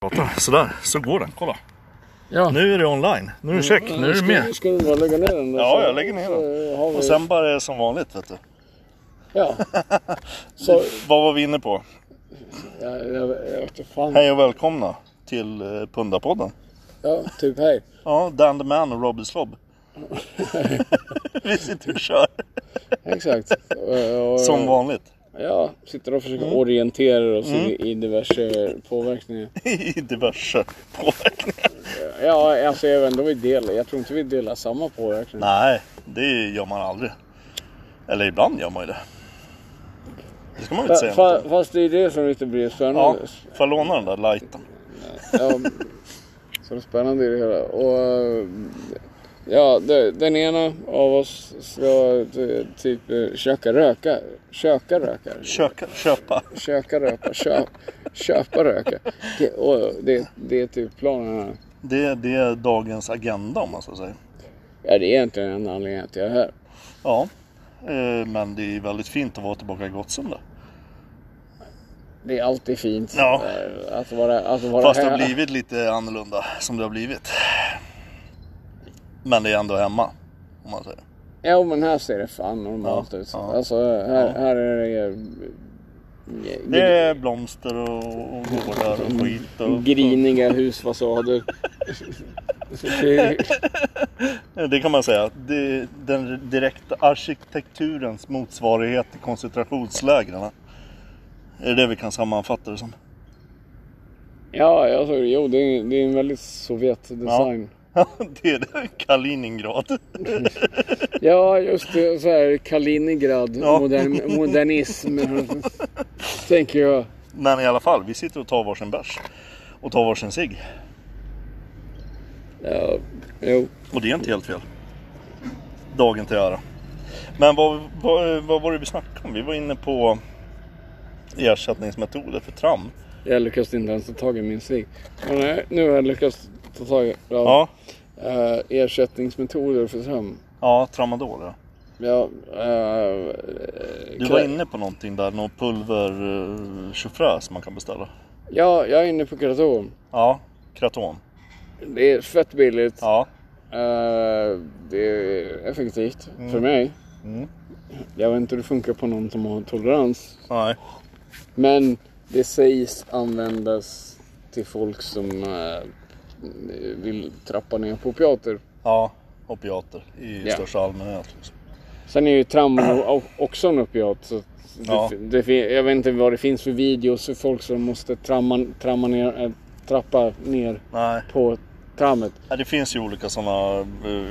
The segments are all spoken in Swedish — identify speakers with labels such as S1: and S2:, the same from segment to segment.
S1: Prata. Sådär, så går den. Kolla.
S2: Ja.
S1: Nu är det online. Nu är det check. Nu är du
S2: Ska-
S1: med.
S2: Ska du bara lägga ner den? där
S1: Ja,
S2: så-
S1: jag lägger ner
S2: så har
S1: den.
S2: vi-
S1: Och sen bara är det som vanligt. Vet du.
S2: Ja. Så,
S1: Vad var vi inne på?
S2: ja, jag, jag vet inte fan.
S1: Hej och välkomna till eh, Pundarpodden.
S2: Ja, typ hej.
S1: Ja, Dan the Man och Robbie Slob. vi sitter och kör.
S2: Exakt. Och- och-
S1: Som Mm. vanligt.
S2: Ja, sitter och försöker orientera oss
S1: Mm.
S2: i, i diverse påverkningar.
S1: I diverse påverkningar.
S2: Ja, alltså även då vi delar. Jag tror inte vi delar samma påverkning.
S1: Nej, det gör man aldrig. Eller ibland gör man ju det. Det ska man väl inte
S2: Fa,
S1: säga något
S2: fa,
S1: om.
S2: fast det är det som inte blir
S1: Ja,
S2: spännande.
S1: får jag låna den där lighten?
S2: Ja, så det är spännande i det hela. Och, eh, ja, det, den ena av oss ska eh, typ eh, köka röka. Köka röka.
S1: Köka, köpa.
S2: Köka röka. Köp, köpa röka. Det, och det, det är typ planen här.
S1: Det, det är dagens agenda om man ska säga.
S2: Ja, det är egentligen en anledning att jag är här.
S1: Ja, eh, men det är väldigt fint att vara tillbaka i Gottsunda.
S2: Det är alltid fint
S1: Ja.
S2: eh, att vara, att vara
S1: Fast det
S2: här.
S1: har blivit lite annorlunda som det har blivit. Men det är ändå hemma. Om man säger.
S2: Ja, men här ser det fan normalt
S1: Ja,
S2: ut.
S1: ja.
S2: Alltså, här, här är eh, det... eh,
S1: Det är blomster och, och gårdar och skit. Och,
S2: Griniga husfasader.
S1: Eh, Det kan man säga. Det, den direkta arkitekturens motsvarighet till koncentrationslägren. Är det det vi kan sammanfatta det som?
S2: ja, jag såg det. Jo, det är, det är en väldigt Sovjet-design.
S1: Ja, det är det. Kaliningrad.
S2: Ja. just det. Så här Kaliningrad,
S1: Ja.
S2: modern, modernism. tänker jag.
S1: Men i alla fall, vi sitter och tar varsin bärs. Och tar varsin cigg.
S2: Ja, jo.
S1: Och det är inte helt fel. Dagen till ära. Men vad, vad, vad var det vi snackade om? Vi var inne på ersättningsmetoder för tram.
S2: Jag lyckas inte ens ta tag i min cigg. Men nej, nu har jag lyckats ta tag i ja.
S1: Ja,
S2: eh, ersättningsmetoder för sömn.
S1: ja tramadol ja.
S2: Ja, eh,
S1: Du var inne på någonting där, någon pulver eh, chaufrös som man kan beställa.
S2: ja, jag är inne på Kratom.
S1: Ja, kraton.
S2: Det är fett billigt.
S1: Ja,
S2: Eh, det är effektivt för mig.
S1: Mm.
S2: Jag vet inte hur det funkar på någon som har tolerans.
S1: nej.
S2: Men det sägs användas till folk som eh, vill trappa ner på opiater.
S1: Ja, opiater i
S2: Ja.
S1: största allmänhet. Liksom.
S2: Sen är ju tram o- också en opiat. Så det,
S1: Ja.
S2: det, fin- jag vet inte vad det finns för videos för folk som måste tramma, tramma ner, eh, trappa ner
S1: Nej,
S2: på trammet.
S1: Ja, det finns ju olika sådana eh,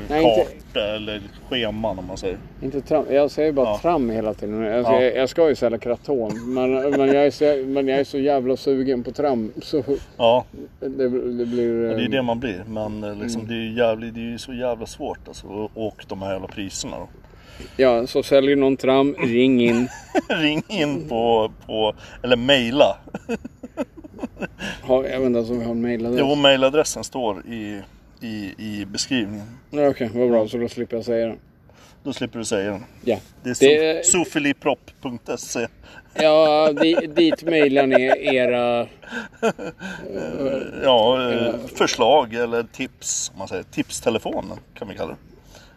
S2: Nej, inte-
S1: kartor eller scheman om man säger.
S2: Inte tram, jag säger bara
S1: Ja.
S2: tram hela tiden. Jag,
S1: Ja.
S2: jag, jag ska ju sälja kraton. Men, men, jag är så, men jag är så jävla sugen på tram. Så
S1: Ja,
S2: det, det blir...
S1: Ja, Det är
S2: eh,
S1: ju det man blir. Men eh, liksom, det, är ju jävligt, det är ju så jävla svårt alltså. Och- Och de här jävla priserna då.
S2: Ja, så säljer någon tram, ring in.
S1: Ring in på, på eller mejla.
S2: Ha, jag vet inte ens om vi har en mejladress.
S1: Jo, mejladressen står i, i, i beskrivningen.
S2: Ja, Okej, vad bra. Så då slipper jag säga det.
S1: Då slipper du säga den.
S2: Ja,
S1: Det är
S2: Det-
S1: det... sofilipropp.se.
S2: ja di, dit mejlar ni era...
S1: Ja, eh, förslag eller tips. Om man säger tipstelefonen kan vi kalla det.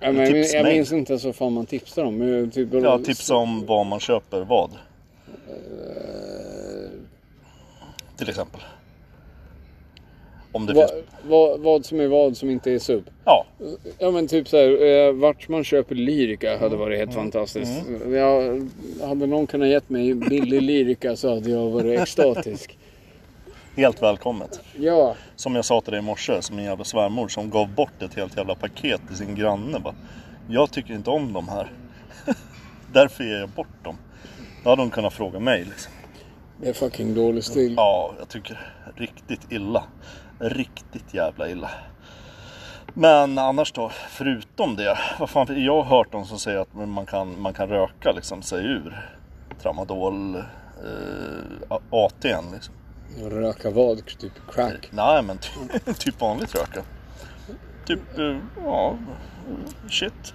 S2: Ja, men jag, min- jag
S1: Tipsmejl.
S2: minns inte ens vad fan man tipsar om. Jag Typ,
S1: Ja, tips om vad man köper vad. Eh. Till exempel. Om det
S2: Vad,
S1: finns.
S2: vad, vad som är vad som inte är sub.
S1: Ja,
S2: Ja men typ såhär, eh, vart man köper lyrika hade varit helt
S1: Mm.
S2: fantastiskt. Jag, hade någon kunnat gett mig billig lyrika så hade jag varit extatisk.
S1: helt välkommet.
S2: Ja,
S1: Som jag sa till dig i morse, som min jävla svärmor som gav bort ett helt jävla paket till sin granne. Bara, jag tycker inte om de här. Därför ger jag bort dem. Då hade hon kunnat fråga mig. Liksom.
S2: det är fucking dålig stil.
S1: Ja, jag tycker riktigt illa. Riktigt jävla illa. Men annars då, förutom det. Vad fan, jag har hört de som säger att man kan, man kan röka liksom, sig ur tramadol, eh, AT'n. Liksom.
S2: Röka vad? Typ crack.
S1: Nej men ty- typ vanligt röka. Typ, eh, ja, shit.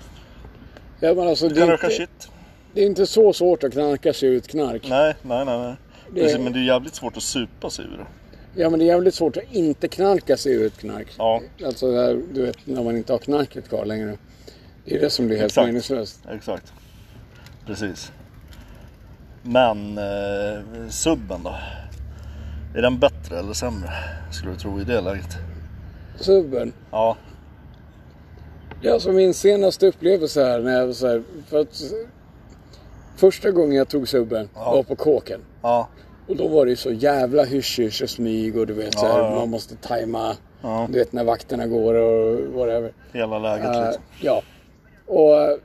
S2: Ja men alltså
S1: Du
S2: det
S1: kan
S2: är,
S1: röka
S2: inte,
S1: shit.
S2: det är inte så svårt att knarka sig ut knark.
S1: Nej, nej, nej. nej.
S2: Det-
S1: Men det är jävligt svårt att supa sig ur det.
S2: Ja men det är jävligt svårt att inte knarka sig ur ett knark.
S1: Ja.
S2: Alltså det här, du vet när man inte har knarket kvar längre. Det är det som blir helt
S1: Exakt.
S2: meningslöst.
S1: Exakt. Precis. Men eh, subben då? Är den bättre eller sämre? Skulle du tro i det läget?
S2: Subben.
S1: Ja,
S2: Det är alltså min senaste upplevelse här när jag var så här, för att Första gången jag tog subben var på kåken.
S1: ja,
S2: Och då var det ju så jävla hysch och smyg och du vet så här,
S1: Ja, ja.
S2: man måste tajma.
S1: Ja.
S2: Du vet när vakterna går och whatever.
S1: hela läget
S2: Eh,
S1: liksom.
S2: ja. Och eh,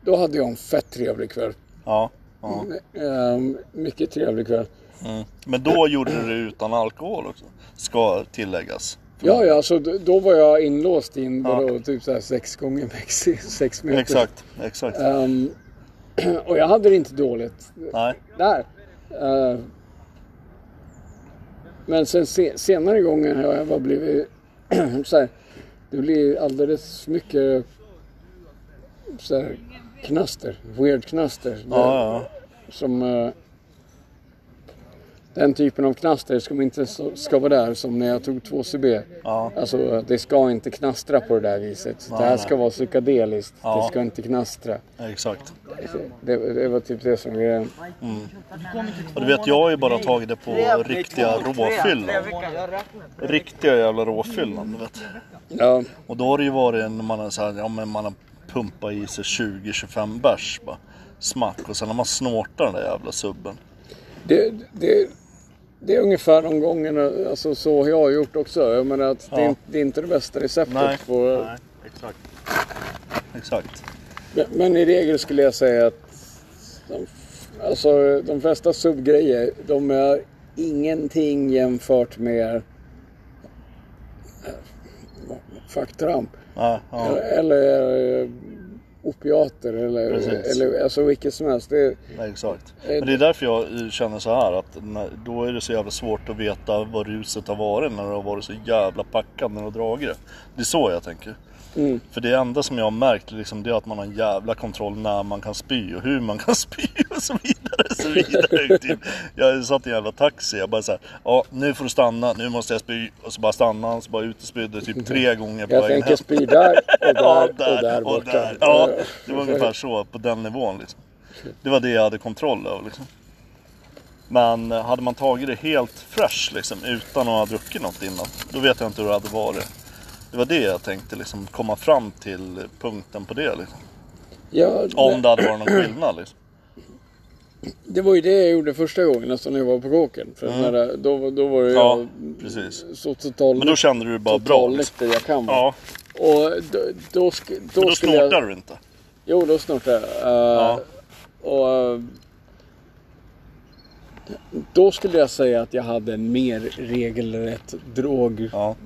S2: då hade jag en fett trevlig kväll.
S1: Ja, ja.
S2: Eh, mycket trevlig kväll.
S1: Mm. Men då gjorde du det utan alkohol också. Ska tilläggas.
S2: Ja, ja, så d- då var jag inlåst i en vadå, typ så här sex gånger mexi, sex meter.
S1: Exakt, exakt.
S2: Ehm, och jag hade det inte dåligt
S1: Nej,
S2: där. Eh, men sen se, senare gången har jag bara blivit så här, det blir alldeles mycket så här, knaster, weird knaster.
S1: ja, ja, ja.
S2: som eh, den typen av knaster som inte så- ska vara där som när jag tog 2CB.
S1: Ja.
S2: Alltså eh, det ska inte knastra på det där viset. Det här ska vara psykedeliskt.
S1: Ja.
S2: Det ska inte knastra.
S1: exakt.
S2: Det, det var typ det som var grejen.
S1: Och du vet, jag har ju bara tagit det på riktiga råfyllan. Riktiga jävla råfyllan, du vet.
S2: Ja,
S1: Och då har det ju varit en- när man har, så här, ja, men man har pumpat i sig 20-25 bärs bara. Smack och sen när man snortar den där jävla subben.
S2: det, det, det är ungefär de gångerna, alltså så har jag gjort också. Jag menar att det, är,
S1: Ja.
S2: inte- det är inte det bästa receptet. På,
S1: Nej, exakt. Exakt.
S2: Men, men i regel skulle jag säga att de, f- alltså, de flesta subgrejer, de är ingenting jämfört med eh, faktram.
S1: Ja, ja,
S2: Eller eh, opiater eller,
S1: Precis.
S2: eller alltså vilket som helst. Det,
S1: exakt. Men
S2: Eh,
S1: det är därför jag känner så här att när, då är det så jävla svårt att veta vad ruset har varit när du har varit så jävla packad när du har dragit det. Det är så jag tänker.
S2: Mm.
S1: För det enda som jag har märkt liksom, det är att man har en jävla kontroll när man kan spy och hur man kan spy och så vidare. Så vidare. Typ, jag satt i en jävla taxi jag bara såhär, ja nu får du stanna, nu måste jag spy. Och så bara stannade han, så bara ut och spydde typ tre gånger på
S2: Mm. jag
S1: vägen
S2: tänker spy där och där,
S1: Ja,
S2: och där
S1: och
S2: borta. Eh,
S1: där. Ja, det var ungefär så på den nivån liksom. Det var det jag hade kontroll över liksom. Men eh, hade man tagit det helt fresh liksom utan att ha druckit något innan. Då vet jag inte hur det hade varit. Det var det jag tänkte liksom komma fram till punkten på det liksom.
S2: Ja,
S1: Om det hade varit någon skillnad liksom.
S2: Det var ju det jag gjorde första gången, alltså när jag var på kåken. För när, då, då var jag
S1: Mm. Ja, precis.
S2: så total,
S1: Men då kände du det bara bra
S2: total
S1: liksom.
S2: nykter jag kan vara.
S1: Ja,
S2: Och då, då, sk, då,
S1: men då
S2: skulle jag...
S1: snortade du inte.
S2: Jo, då snortade jag. Eh,
S1: Ja.
S2: Och, eh, då skulle jag säga att jag hade en mer regelrätt drog...
S1: Ja,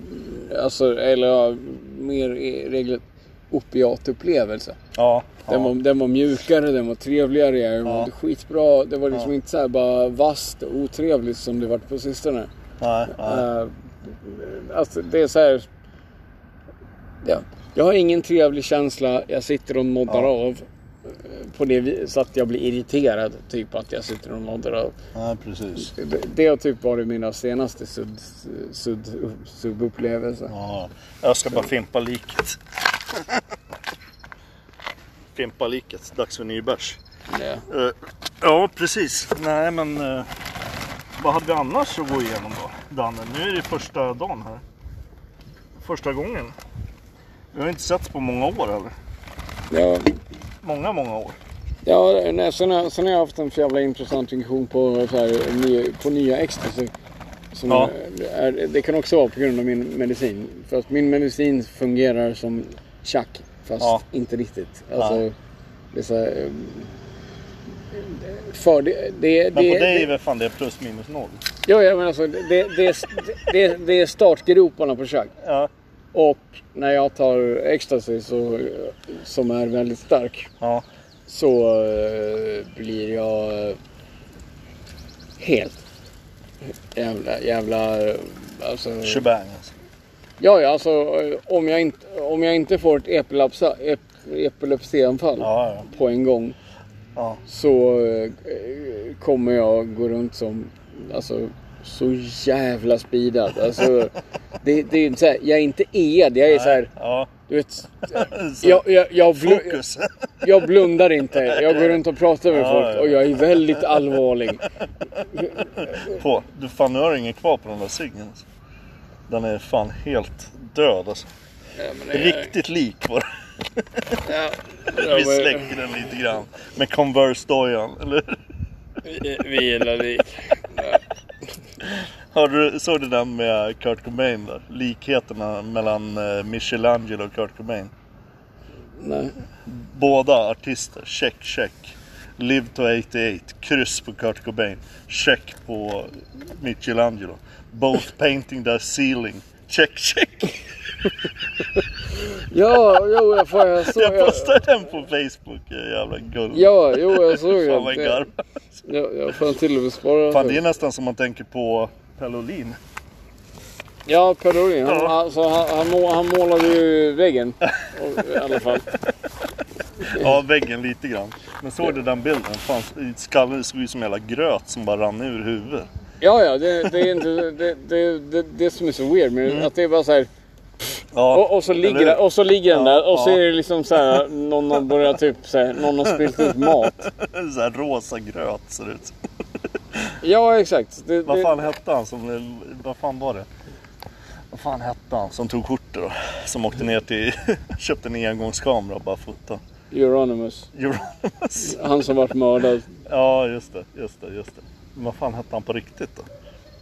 S2: Alltså, eller ja, mer e- regelrätt opiatupplevelse.
S1: ja,
S2: Den, var,
S1: ja.
S2: den var mjukare, den var trevligare, jag mådde skitbra. Det var liksom
S1: Ja.
S2: inte så här bara vasst och otrevligt som det varit på sistone.
S1: Nej, nej.
S2: Eh, alltså det är så här. Ja. Jag har ingen trevlig känsla. Jag sitter och noddar av. eh, På det vi- så att jag blir irriterad. Typ att jag sitter och noddar av.
S1: nej, precis.
S2: Det, det har typ varit mina senaste sud, sud, subupplevelser.
S1: Ja, jag ska bara fimpa liket. fimpa liket, dags för ny bärs.
S2: Ja.
S1: Eh, ja, precis. Nej, men eh, vad hade vi annars att gå igenom då, Danne? Nu är det första dagen här. Första gången. Vi har inte setts på många år eller?
S2: Ja,
S1: Många, många år.
S2: ja nej, sen, har, sen har jag haft en så jävla intressant funktion på, så här, ny, på nya ecstasy. Som
S1: Ja.
S2: är, det kan också vara på grund av min medicin. För att min medicin fungerar som tjack. Fast
S1: Ja.
S2: inte riktigt. Alltså,
S1: Nej.
S2: det är så här, eh, för det, det,
S1: Men
S2: det,
S1: på dig är
S2: det,
S1: väl fan det är plus minus noll?
S2: ja, ja, men alltså, det, det, det, det, det är startgroparna på tjack.
S1: Ja,
S2: Och när jag tar ecstasy så, som är väldigt stark
S1: ja,
S2: så eh, blir jag eh, helt jävla, jävla, eh, alltså.
S1: shebang alltså.
S2: Ja, ja, alltså eh, om jag inte, om jag inte får ett epilepsa, ep, epilepsianfall
S1: Ja, ja,
S2: på en gång
S1: ja.
S2: så eh, kommer jag gå runt som, alltså så jävla speedad. Alltså, det, det är inte så här, jag är inte ed, jag är så här,
S1: Ja.
S2: du vet.
S1: Så,
S2: Jag, jag, jag, blu,
S1: Alltså, Fokus.
S2: jag blundar inte. Jag går runt och pratar med
S1: Ja,
S2: folk och jag är väldigt allvarlig.
S1: på. Du fan nu har du ingen kvar på den där ciggen. Alltså. Den är fan helt död alltså. Riktigt lik var det.
S2: Ja,
S1: Vi släcker den lite grann. Med Converse-dojan, eller hur?
S2: vi, vi gillar lik.
S1: Har du, såg du den med Kurt Cobain där? Likheterna mellan eh, Michelangelo och Kurt Cobain.
S2: Nej.
S1: Båda artister, check, check. Live to 88, kryss på Kurt Cobain. Check på Michelangelo. Both painting their ceiling. Check, check.
S2: Ja, jo, jag, får, jag såg...
S1: Jag
S2: Jag,
S1: postade den på Facebook, jag är jävla guld.
S2: ja, jo, jag såg det.
S1: Fan vad jag
S2: det.
S1: garvar.
S2: Jag, jag får till och med spara
S1: Fan det
S2: det.
S1: är nästan som man tänker på Pellolin.
S2: Ja, Per Norlin. Han,
S1: Ja.
S2: alltså, han, han, må, han målade ju väggen. Och- I alla fall.
S1: Ja, väggen lite grann. Men såg du den bilden? Fan, skallen såg ut som en jävla gröt som bara rann ur huvudet.
S2: Ja, ja, det, det är inte det, det, det, det som är så weird. Men att det är bara så här,
S1: Mm. Ja,
S2: och, och, så
S1: eller
S2: ligger, den-
S1: hur?
S2: och så ligger den
S1: Ja,
S2: där och så
S1: ja.
S2: är det liksom så här, någon har börjat typ så här, någon har spilt ut mat.
S1: Så här rosa gröt ser det ut som.
S2: Ja, exakt. Det,
S1: Vad
S2: det-
S1: fan hette han som... Vad fan var det? Vad fan hette han som tog kortet då? Som åkte ner till... Köpte en engångskamera och bara fotade.
S2: Euronymous.
S1: Euronymous.
S2: Han som vart mördad.
S1: Ja, just det, just det, just det. Men vad fan hette han på riktigt då?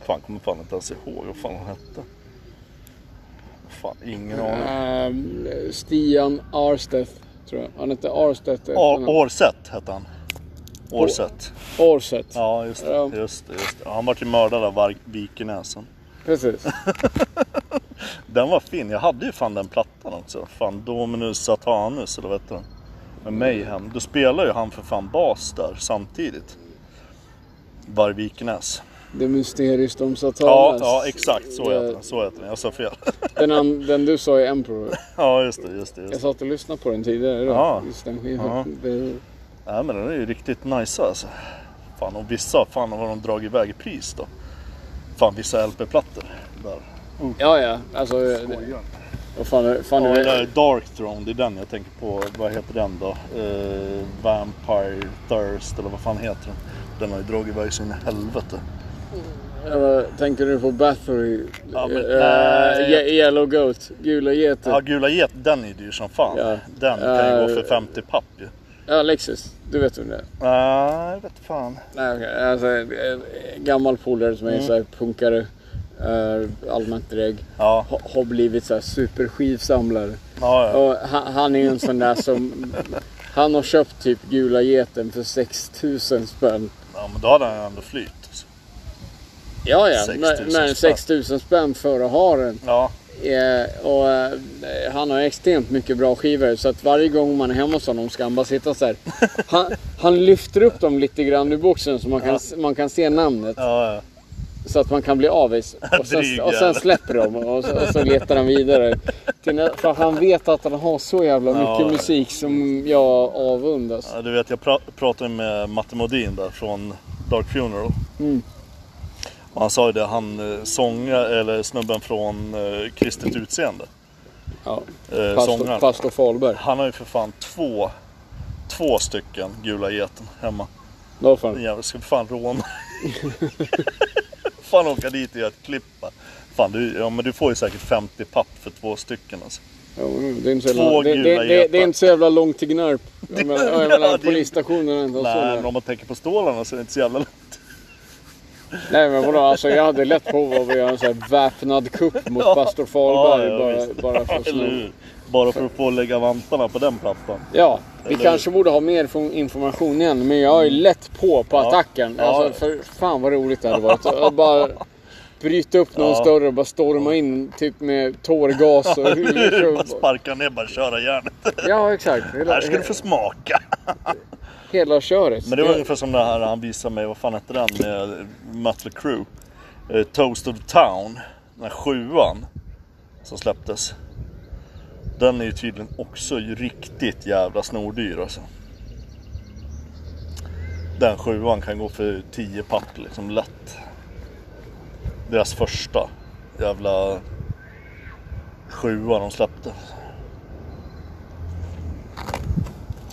S1: Fan, kommer fan inte ens ihåg vad fan han hette. Fan, ingen aning.
S2: Ehm, Stian Arstedt, tror jag. Han hette Arstedt.
S1: Or-
S2: efternamn.
S1: Orsett hette han. Orsett.
S2: Arstedt.
S1: Ja, just det.
S2: Ja.
S1: Just det, just det. Han vart ju mördad av Varg- Vikenäsen.
S2: Precis.
S1: Den var fin. Jag hade ju fan den plattan också. Fan, Dominus Satanus eller vad heter den? Med Mayhem. Då spelar ju han för fan bas där samtidigt. Varg Vikenäs.
S2: Det är mysteriskt om Satanas.
S1: Ja, ja, exakt så heter
S2: Eh,
S1: den. Så heter den. Jag sa fel.
S2: Den, an- den du sa är Emperor.
S1: ja, just det, just det. Just det.
S2: Jag satt och lyssnade på den tidigare idag.
S1: Ja.
S2: Just den skivan.
S1: Ja.
S2: Det,
S1: Nej men den är ju riktigt nice alltså. Fan och vissa, fan vad de dragit iväg i pris då. Fan vissa LP-plattor. Där.
S2: ja, ja. Alltså, det,
S1: Skojar.
S2: vad fan, är- fan
S1: Ja,
S2: är
S1: den
S2: det?
S1: där Dark Throne, det är den jag tänker på. Vad heter den då? Eh, Vampire Thirst eller vad fan heter den? Den har ju dragit iväg så in i helvete.
S2: Eller Tänker du på Bathory?
S1: Ja, men-
S2: Eh,
S1: nej,
S2: Ye- Yellow Goat? Gula Geten?
S1: Ja, Gula Get, den är ju dyr som fan.
S2: Ja.
S1: Den kan ju
S2: Eh,
S1: gå för 50 papp ju.
S2: Ja, Lexus. Du vet vem det är?
S1: Nej, jag vet fan.
S2: Nej, okej. Alltså, en gammal polare som är
S1: Mm.
S2: så här punkare. eh, allmänt drägg.
S1: Ja,
S2: ha- Har blivit så här superskivsamlare.
S1: ja, ja.
S2: Och han, han är ju en sån där som... Han har köpt typ Gula Geten för 6000 spänn.
S1: ja men då hade han ju ändå flyt. alltså.
S2: Ja, ja.
S1: 6 000
S2: Men, men
S1: spänn.
S2: 6000 spänn för att ha den.
S1: Ja,
S2: Eh, och, eh, han har extremt mycket bra skivor. Så att varje gång man är hemma hos honom ska han bara sitta så här. Han, han lyfter upp dem lite grann ur boxen så man kan, man kan se namnet.
S1: ja, ja.
S2: Så att man kan bli avis. Och sen,
S1: Dryg
S2: och sen
S1: jävel.
S2: släpper de och så, och så letar han vidare. Till nä- För han vet att han har så jävla mycket
S1: Ja.
S2: musik som jag avundas.
S1: Ja, du vet, jag pra- pratade med Matte Modin där från Dark Funeral.
S2: Mm.
S1: Och han sa ju det, han eh, sånga, eller snubben från eh, Kristet Utseende,
S2: Ja.
S1: eh,
S2: Pastor,
S1: sångaren.
S2: Pastor Fahlberg.
S1: Han har ju för fan två, två stycken Gula Geten hemma.
S2: Då
S1: Den
S2: fan.
S1: jäveln ska fan råna. fan åka dit och göra ett klipp va? Fan, du, ja, men du får ju säkert 50 papp för två stycken alltså.
S2: Ja, men det, är inte så
S1: Två
S2: jävla, det, det,
S1: gula
S2: det, det
S1: gepar.
S2: är inte så jävla långt till Gnarp. Jag menar, jag
S1: Ja,
S2: menar
S1: det-
S2: polisstationen är inte så
S1: Nej, men
S2: långt.
S1: om man tänker på stålarna så är det inte så jävla långt.
S2: Nej men vadå, alltså, jag hade lätt på att göra en sån här väpnad kupp mot
S1: Ja.
S2: Pastor Fahlberg.
S1: Ja, ja, visst.
S2: bara, bara för att
S1: Eller
S2: sno.
S1: hur? Bara för att få lägga vantarna på den plattan.
S2: Ja, vi
S1: Eller-
S2: kanske borde ha mer info- information igen, men jag är lätt på på
S1: Ja.
S2: attacken.
S1: Ja.
S2: Alltså, för fan vad roligt det hade varit. Att bara bryta upp någon
S1: Ja.
S2: större och bara storma in typ med tårgas och
S1: Bara sparka ner, bara köra järnet.
S2: Ja, exakt. Hela,
S1: Här ska du få smaka.
S2: hela köret.
S1: Men det var ungefär som det här han visade mig, vad fan hette den med Mötley Crüe? Eh, Toast of the Town, den här sjuan som släpptes. Den är ju tydligen också ju riktigt jävla snordyr alltså. Den sjuan kan gå för 10 papp liksom lätt. Deras första jävla sjua de släppte.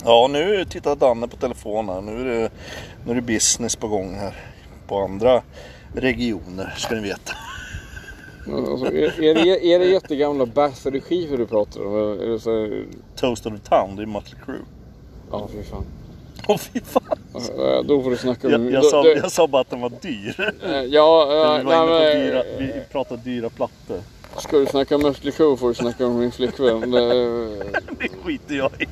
S1: Ja, nu tittar Danne på telefonen. Nu är det, nu är det business på gång här. På andra regioner ska ni veta.
S2: Alltså, är, är, det, är det jättegamla Bathory-skivor du pratar om? Eller Är det så här...
S1: Toast of the Town, det är Mötley Crüe.
S2: Ja, fy fan.
S1: Åh fy fan.
S2: Äh, Då får du snacka om...
S1: Jag, jag,
S2: då-
S1: sa,
S2: då-
S1: jag sa bara att den var dyr.
S2: eh, Ja,
S1: Vi
S2: äh,
S1: var inne
S2: nej,
S1: på
S2: men,
S1: dyra, vi pratade dyra plattor.
S2: Ska du snacka om Mötley Crüe får du snacka om min flickvän. Det, är-
S1: Det skiter jag i.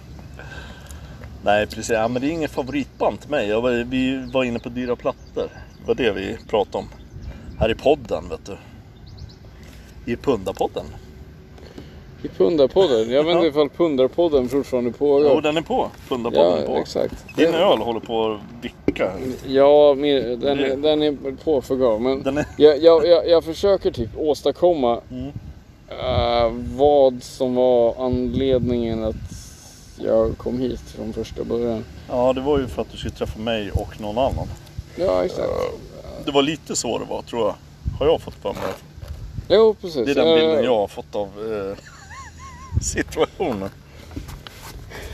S1: Nej precis, ja, men det är inget favoritband till mig. Jag var, vi var inne på dyra plattor. Det var det vi pratade om. Här i podden vet du. I Pundarpodden.
S2: I Pundarpodden. Jag vet inte ifall Pundarpodden fortfarande
S1: Jo
S2: pågår.
S1: den är på. Pundarpodden
S2: Ja,
S1: är på.
S2: exakt.
S1: Din öl håller på att vicka.
S2: Ja, min, den,
S1: Det-
S2: den är på för gav, men
S1: Mm. Den är...
S2: jag, jag, jag, jag försöker typ åstadkomma
S1: Mm.
S2: eh, vad som var anledningen att jag kom hit från första början.
S1: Ja det var ju för att du skulle träffa mig och någon annan.
S2: Ja, exakt.
S1: Det var lite så det var tror jag. Har jag fått för mig.
S2: Jo, precis.
S1: Det är den
S2: Eh,
S1: bilden jag har fått av eh, situationen.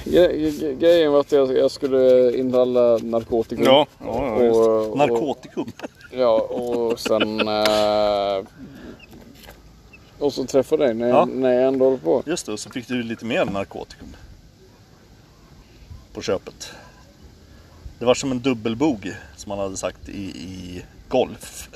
S2: gre- gre- Grejen var att jag, jag skulle inhalla narkotika.
S1: Mm. Ja, ja, ja just.
S2: Och- och-
S1: Narkotikum.
S2: Ja, och sen... eh, och så träffade jag dig när,
S1: Ja.
S2: när jag ändå håller på.
S1: Just det, och så fick du lite mer narkotikum. På köpet. Det var som en dubbelbog som man hade sagt i, i golf.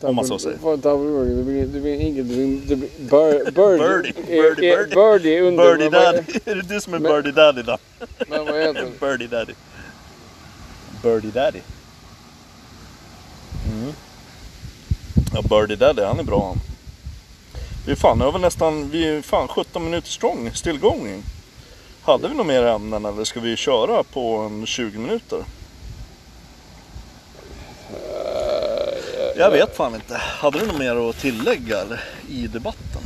S1: Om man så säger.
S2: Vad är double birdie? Det blir, det blir inget... Det blir, det blir bur, birdie.
S1: Birdie, birdie,
S2: Eh, eh,
S1: birdie.
S2: birdie under...
S1: Birdie
S2: men vad-
S1: Daddy. Är det du som är
S2: Men-
S1: Birdie Daddy då?
S2: Men vad heter det?
S1: Birdie Daddy. Birdie Daddy. Mm. Ja, Birdie Daddy, han är bra han. Vi är fan över nästan, vi är fan 17 minuter strong, stillgång. Hade vi några mer ämnen eller ska vi köra på en 20 minuter? Jag vet fan inte. Hade du något mer att tillägga eller, i debatten?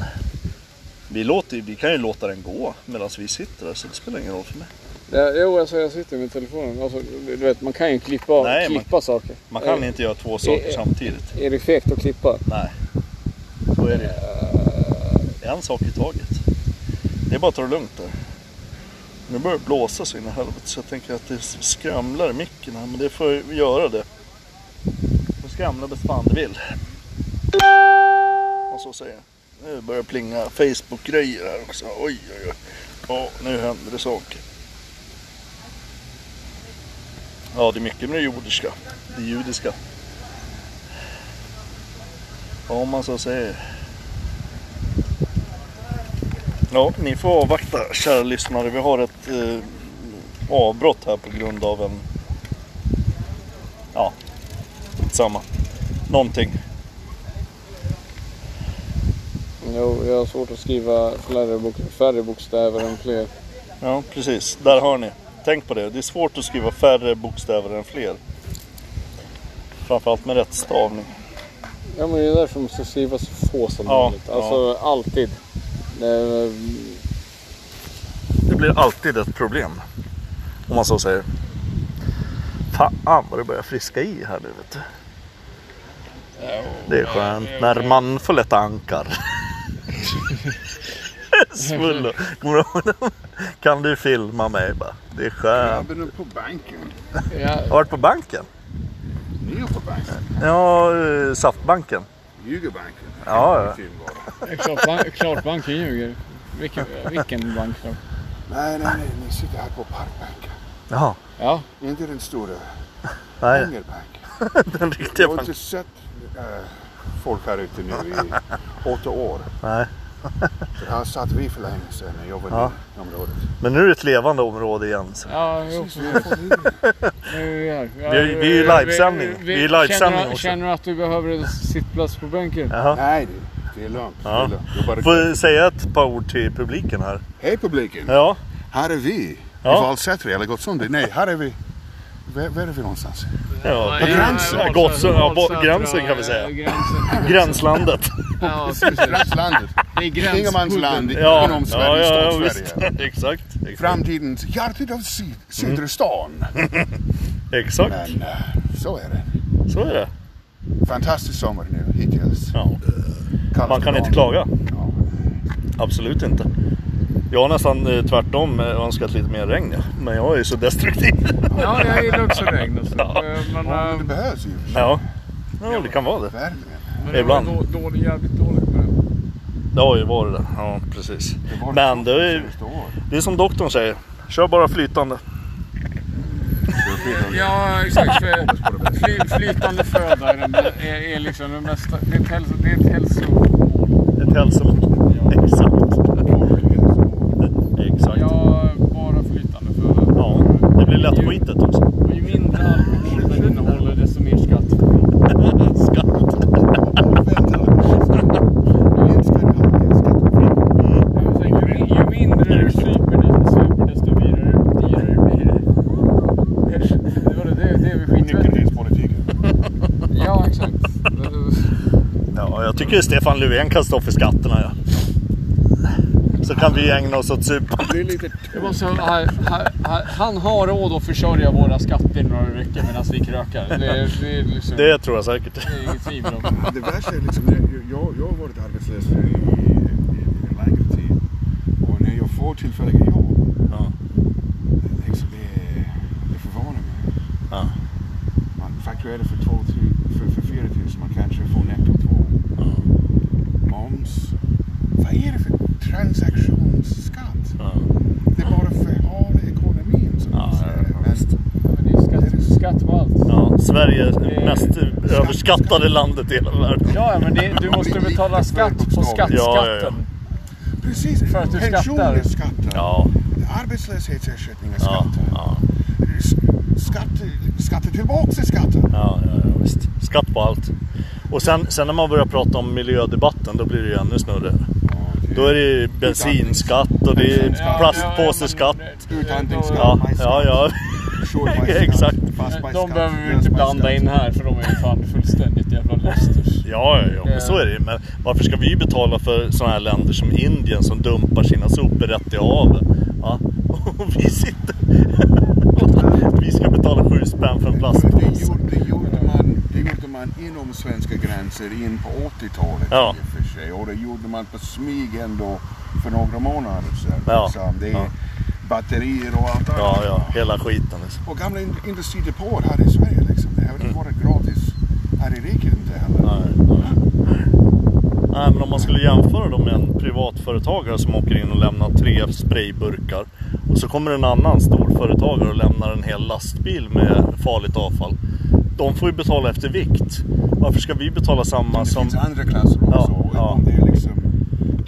S1: Vi, låter, vi kan ju låta den gå medan vi sitter här så det spelar ingen roll för mig.
S2: Ja, jo, alltså jag sitter med telefonen. Alltså, du du vet, man kan ju klippa,
S1: Nej, man-
S2: klippa saker.
S1: Man kan
S2: är,
S1: inte göra två saker
S2: eh,
S1: samtidigt.
S2: är det fegt att klippa?
S1: Nej, så är det En sak i taget. Det är bara att ta det lugnt där. Nu börjar det blåsa så in i helvete så jag tänker att det skramlar i micken här men det får ju göra det. Det skramlar bäst fan det vill. Och så säger jag. Nu börjar det plinga Facebook-grejer här också. Oj oj oj. Ja, nu händer det saker. Ja, det är mycket med det judiska. Det judiska. Ja, om man så säger. Ja, ni får avvakta kära lyssnare. Vi har ett eh, avbrott här på grund av en... Ja, samma. Någonting.
S2: Jo, jag har svårt att skriva färre, bok, färre bokstäver än fler.
S1: Ja, precis. Där hör ni. Tänk på det. Det är svårt att skriva färre bokstäver än fler. Framförallt med rätt stavning.
S2: Ja, men det är därför man måste skriva så få som
S1: Ja,
S2: möjligt. Alltså, alltid. Det är,
S1: Det blir alltid ett problem. Om man så säger. Fan vad det börjar friska i här nu vet du. Det är skönt när man får lätta ankar. Svullo. Kommer du ihåg dem? Kan du filma mig bara? Det är skönt.
S3: Grabben är på banken.
S2: ja,
S1: Har du varit på banken?
S3: Ni är på banken.
S1: Ja, eh, Saftbanken.
S3: Ljuger banken.
S1: Ja, ja.
S3: Film var det.
S2: klart, banken ljuger. Vilken, vilken bank då?
S3: Nej, nej, nej. Ni sitter här på parkbanken.
S1: Jaha.
S2: Ja,
S3: Inte den stora
S1: Nej,
S3: Angerbanken.
S1: den riktiga
S3: Jag har
S1: banken.
S3: inte sett eh, folk här ute nu i åtta år.
S1: Nej.
S3: För här satt vi för länge sedan när jag var
S1: Ja.
S3: i området.
S1: Men nu är det ett levande område igen. Så.
S2: ja jo,
S3: Precis, vi har fått in.
S2: nu är vi här.
S1: Vi är- vi är i livesändning. Vi är i livesändning
S2: känner,
S1: också.
S2: känner du att du behöver en sittplats på bänken?
S1: Jaha.
S3: Nej, det, det är lugnt. Det
S1: Ja.
S3: är lugnt. Jag
S1: Får
S3: bara...
S1: jag säga ett par ord till publiken här?
S3: Hej publiken!
S1: Ja.
S3: Här är vi.
S1: Ja.
S3: I Valsätra eller Gottsunda. Nej, här är vi. Var, var är vi någonstans?
S1: Ja,
S3: På gränsen.
S1: Ja, Gotsen, ja, bo- gränsen kan vi säga.
S2: Gränsen.
S1: Gränslandet.
S2: Ja,
S3: Gränslandet.
S2: det är gräns-
S3: Ingenmansland
S1: Ja,
S3: inom
S1: ja,
S3: Sverige,
S1: ja, ja
S3: stat
S1: visst.
S3: Sverige.
S1: Exakt. Exakt.
S3: Framtidens hjärtat av syd,
S1: Mm.
S3: södra stan.
S1: exakt.
S3: Men eh, så är det.
S1: Så är det.
S4: fantastisk sommar nu hittills.
S1: Ja.
S4: Kallt
S1: Man kan
S4: idag.
S1: inte klaga.
S4: Ja.
S1: Absolut inte. Jag har nästan eh, tvärtom eh, önskat lite mer regn. ja. Men jag är ju så destruktiv.
S2: Ja, jag gillar också regn. och så. Eh, Men,
S4: Ja,
S2: eh,
S4: men det behövs ju.
S1: ja. ja, det kan vara det.
S4: Värmen.
S2: men det
S1: ibland.
S2: var då- dålig, jävligt dåligt med det.
S1: Det har ju varit det. Ja, precis.
S4: Det var
S1: Men det är, ju-
S4: senaste året.
S1: det är som doktorn säger. Kör bara flytande.
S2: Ja, exakt. För fly, flytande föda är, den, där- är, är liksom den bästa. Det är ett hälso... Det är ett hälso
S1: Ett hälsomål. Exakt. Exakt. Ja.
S2: ja, bara flytande föda.
S1: det blir lätt skitet också.
S2: Och ju mindre alkohol den innehåller, desto mer skatt.
S1: Skatt.
S2: Jag tänker, ju- Ju mindre du super, desto, super, desto dyrare, dyrare blir det. Det var det, det, det är väl skitvärt.
S4: Nykterhetspolitiken.
S2: Ja, exakt.
S1: Ja, jag tycker Stefan Löfven kan stå för skatterna. Ja. Så kan vi ägna oss åt supan.
S5: Det är lite...
S2: Det var så, han, han, han har råd att försörja våra skatter några veckor medan vi krökar. Det, är- det är liksom...
S1: Det tror jag säkert.
S2: det är inget tvivel om.
S6: Det värsta är liksom, jag- jag, jag har varit arbetslös nu i, i, i en längre tid. Och när jag får tillfälliga jobb,
S1: Ja.
S6: liksom, det, det förvånar mig.
S1: Ja.
S6: Man fakturerar för, 12, tu- för, för 4 000, man kanske får netto 2. Moms. Vad är det för transaktionsskatt?
S1: Ja.
S6: Det är bara förhalar ekonomin. Som
S1: Ja,
S6: man säger.
S1: ja,
S6: Men
S2: Men det är skatt, skatt på allt.
S1: Ja, Sverige är det mest överskattade landet i hela världen.
S2: Ja, men det, du måste betala skatt på
S1: Ja, ja, ja.
S2: skattskatten.
S6: precis,
S2: För att du
S6: pensioner
S2: skattar.
S6: skattar.
S1: Ja,
S6: Arbetslöshetsersättningar
S1: ja,
S6: skattar.
S1: ja,
S6: skatte, skatte tillbaka i skatten.
S1: ja, ja, ja visst. Skatt på allt. Och sen, sen när man börjar prata om miljödebatten då blir det ju ännu snurrigare. Då är det ju bensinskatt och det är plastpåseskatt.
S2: eh,
S6: Utandningsskatt.
S1: Ja, ja, ja. Exakt.
S2: De behöver vi inte blanda in här för de är ju fan fullständigt jävla losters.
S1: Ja, ja, ja, men så är det ju. Men varför ska vi betala för sådana här länder som Indien som dumpar sina sopor rätt i havet? Ja. Och vi sitter... vi ska betala sju spänn för en
S6: Det
S1: plastpåse.
S6: gjorde, det, gjorde man, det gjorde man inom svenska gränser in på 80-talet
S1: Ja.
S6: i och för sig. Och det gjorde man på smyg ändå för några månader sedan.
S1: Ja.
S6: Liksom. Det är
S1: Ja.
S6: batterier och allt annat.
S1: Ja, ja, hela skiten liksom.
S6: Och gamla in- industridepåer här i Sverige liksom. Det har
S1: Mm.
S6: inte varit gratis här i riket inte heller.
S1: Nej, nej. Nej, men om man skulle jämföra då med en privatföretagare som åker in och lämnar tre sprayburkar och så kommer en annan storföretagare och lämnar en hel lastbil med farligt avfall. De får ju betala efter vikt. Varför ska vi betala samma
S6: Det
S1: som...
S6: finns andra klasser också.
S1: Ja, ja.
S6: Om det är liksom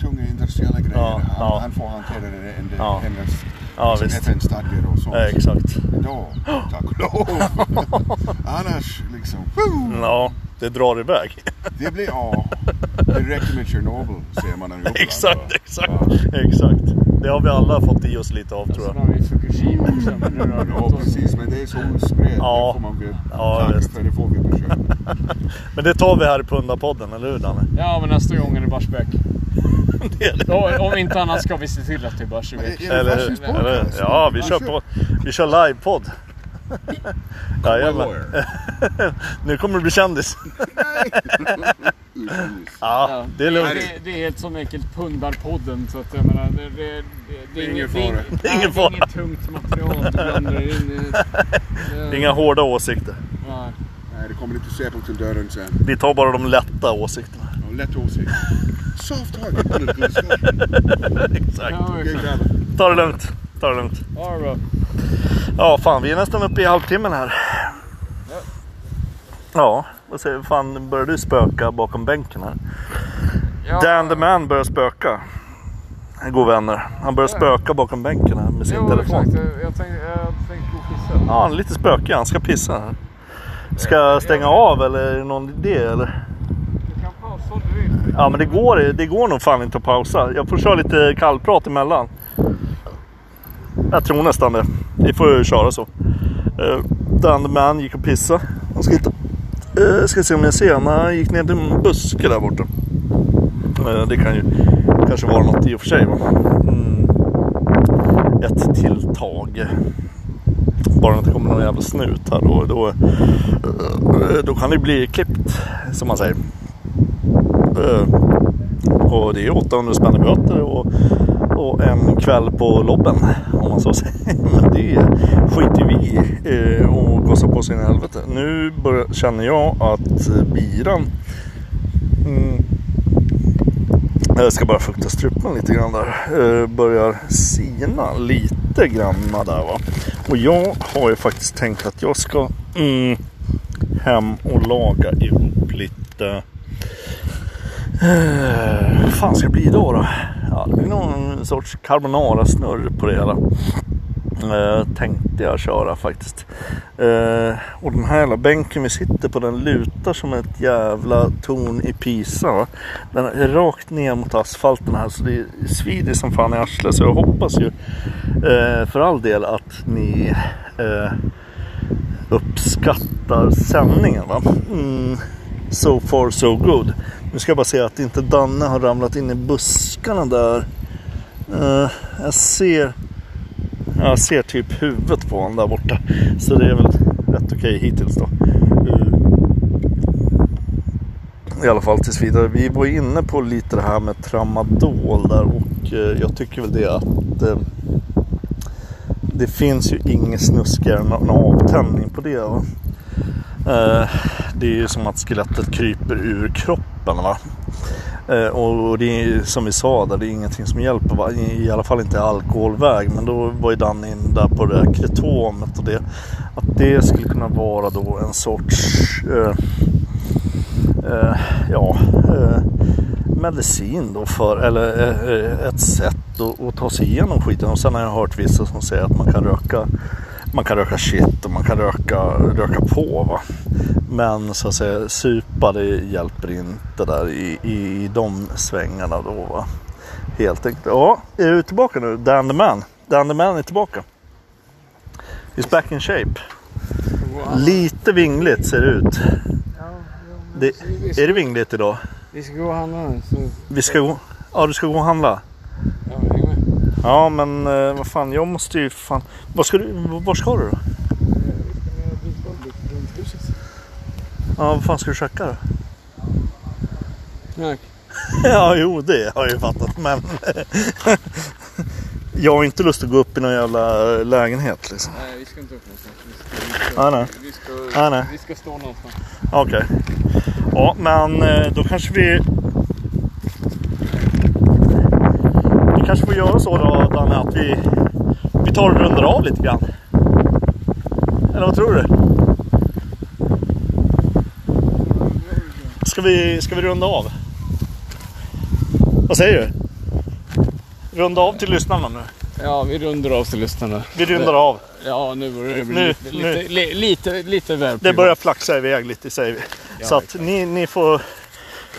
S6: tunga industriella grejer.
S1: Ja,
S6: han,
S1: ja.
S6: han får hantera det enligt
S1: Ja.
S6: hennes
S1: Ja,
S6: liksom
S1: visst.
S6: FN-stadgar och sånt.
S1: Ja, exakt.
S6: Då, tack och lov. Annars liksom, woo,
S1: Ja, det drar iväg.
S6: det blir ja. Det räcker med Tjernobyl ser man i Uppland.
S1: exakt, exakt, exakt. Det har vi alla fått i oss lite av tror
S2: Sen
S1: jag.
S2: Alltså, har vi Fukushima också. men det rör
S6: Ja
S2: runt oss.
S6: precis, men det är så utspritt.
S1: Ja.
S6: Det får man väl
S1: Ja,
S6: tacka
S1: visst.
S6: för. Det får vi försöka.
S1: Men det tar vi här i Pundarpodden, eller hur Danne?
S2: Ja, men nästa gång är det Barsebäck.
S1: Det är det.
S2: Och- Om inte annat ska vi se till att det är
S6: Är,
S2: Barsebäck.
S6: är det
S1: Eller,
S6: fascist
S1: eller,
S6: podcast?
S1: ja, vi kör, på, vi kör livepodd. Jajamän. Nu kommer du bli kändis. Ja,
S2: Ja.
S1: det är lugnt.
S2: Det, det är helt som enkelt Pungbarpodden. Så att jag menar, det, det, det, det är inget, det är
S6: fara.
S2: inget,
S1: Det är ingen
S2: det
S1: fara.
S2: är inget tungt material du blandar in. i-
S1: Det är Inga hårda åsikter.
S2: Nej.
S6: Nej, det kommer lite säpo till dörren sen.
S1: Vi tar bara de lätta åsikterna.
S6: Ja, Lätt åsikt. Soft target political discussion.
S1: Exakt.
S2: Ja,
S6: Okej,
S2: exakt.
S6: grabbar.
S1: Ta det lugnt. Ta det lugnt.
S2: Ja, det är bra.
S1: Ja, fan vi är nästan uppe i halvtimmen här. Ja, vad säger Fan, börjar du spöka bakom bänken här?
S2: Ja.
S1: Dan the man börjar spöka. God vänner. Han börjar spöka bakom bänken här med sin
S2: Jo,
S1: telefon.
S2: exakt. Jag tänkte, jag tänkte gå och kissa.
S1: Ja, han är lite spökig. Han ska pissa här. Ska jag stänga av eller är det någon idé eller?
S2: Du kan pausa om du vill.
S1: Ja, men det går, det går nog fan inte att pausa. Jag får köra lite kallprat emellan. Jag tror nästan det. Vi får ju köra så. Uh, Dan the man gick och pissade. Han ska hitta... Eh, ska se om jag ser honom. Han gick ner till en buske där borta. Eh, det kan ju kanske vara något i och för sig. Va? Mm. Ett tilltag. Bara det inte kommer någon jävla snut här då, då, eh, då kan det bli klippt som man säger. Eh, Och det är 800 spänn i böter och, och en kväll på lobben om man så säger. Men det skiter vi i eh, och gossar på sin helvete. Nu börjar, känner jag att eh, biran mm, jag ska bara fukta strupen lite grann där. Eh, Börjar sina lite granna där va. Och jag har ju faktiskt tänkt att jag ska mm, hem och laga ihop lite... Eh, Vad fan ska det bli idag då? Ja, det är någon sorts carbonara-snurr på det hela. Eh, tänkte jag köra faktiskt. Eh, och den här jävla bänken vi sitter på den lutar som ett jävla torn i Pisa. Va? Den är rakt ner mot asfalten här så det svider som fan i arslet. Så jag hoppas ju eh, för all del att ni eh, uppskattar sändningen. Va? Mm. So far so good. Nu ska jag bara se att inte Danne har ramlat in i buskarna där. Eh, jag ser... Jag ser typ huvudet på honom där borta. Så det är väl rätt okej hittills då. Eh, I alla fall tills vidare. Vi var ju inne på lite det här med tramadol där och eh, jag tycker väl det att eh, det finns ju inget snuskigare än en avtändning på det. Va? Eh, Det är ju som att skelettet kryper ur kroppen. Va? Eh, Och och det är ju, som vi sa där, det är ingenting som hjälper. Va? I i alla fall inte i alkoholväg. Men då var ju Danne in där på det här kretomet och det. Att det skulle kunna vara då en sorts eh, eh, ja, eh, medicin då för, eller eh, eh, ett sätt att, att ta sig igenom skiten. Och sen har jag hört vissa som säger att man kan röka man kan röka shit och man kan röka, röka på. Va? Men så att säga, supa det hjälper inte där i, i, i de svängarna då. Va? Helt enkelt. Ja, är du tillbaka nu? Dan the man. Dan the man är tillbaka. He's back in shape. Lite vingligt ser det ut.
S7: Ja, jo, men
S1: Det,
S7: så vi,
S1: är det vingligt idag?
S7: vi ska gå och handla nu. Så...
S1: Vi ska gå... Ja, du ska gå och handla?
S7: Ja, häng med.
S1: Ja, men eh, vad fan, jag måste ju fan... Var ska du, var ska du då? Ja, vad fan ska du käka då?
S7: Knack.
S1: Ja, jo, det har jag ju fattat, men... jag har inte lust att gå upp i någon jävla lägenhet liksom.
S7: Nej, vi ska inte upp någonstans. Vi ska,
S1: Nej, nej.
S7: vi ska,
S1: Nej, nej.
S7: vi ska stå någonstans.
S1: Okej. Ja, men eh, då kanske vi... Vi kanske får göra så då, Danne, att vi, vi tar och rundar av lite grann. Eller vad tror du? Ska vi, ska vi runda av? Vad säger du? Runda av till lyssnarna nu.
S7: Ja, vi rundar av till lyssnarna.
S1: Vi rundar av.
S7: Ja, nu börjar det bli
S1: Nu,
S7: lite,
S1: nu.
S7: lite, li, lite, lite väl
S1: Det börjar flaxa iväg lite säger vi. så att ni, ni får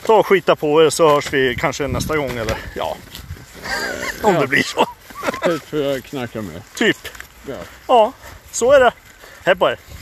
S1: ta och skita på er så hörs vi kanske nästa gång eller ja. Om det blir så.
S7: privat. För jag knarkar med.
S1: Typ.
S7: Ja.
S1: Ja, så är det. Hej på er.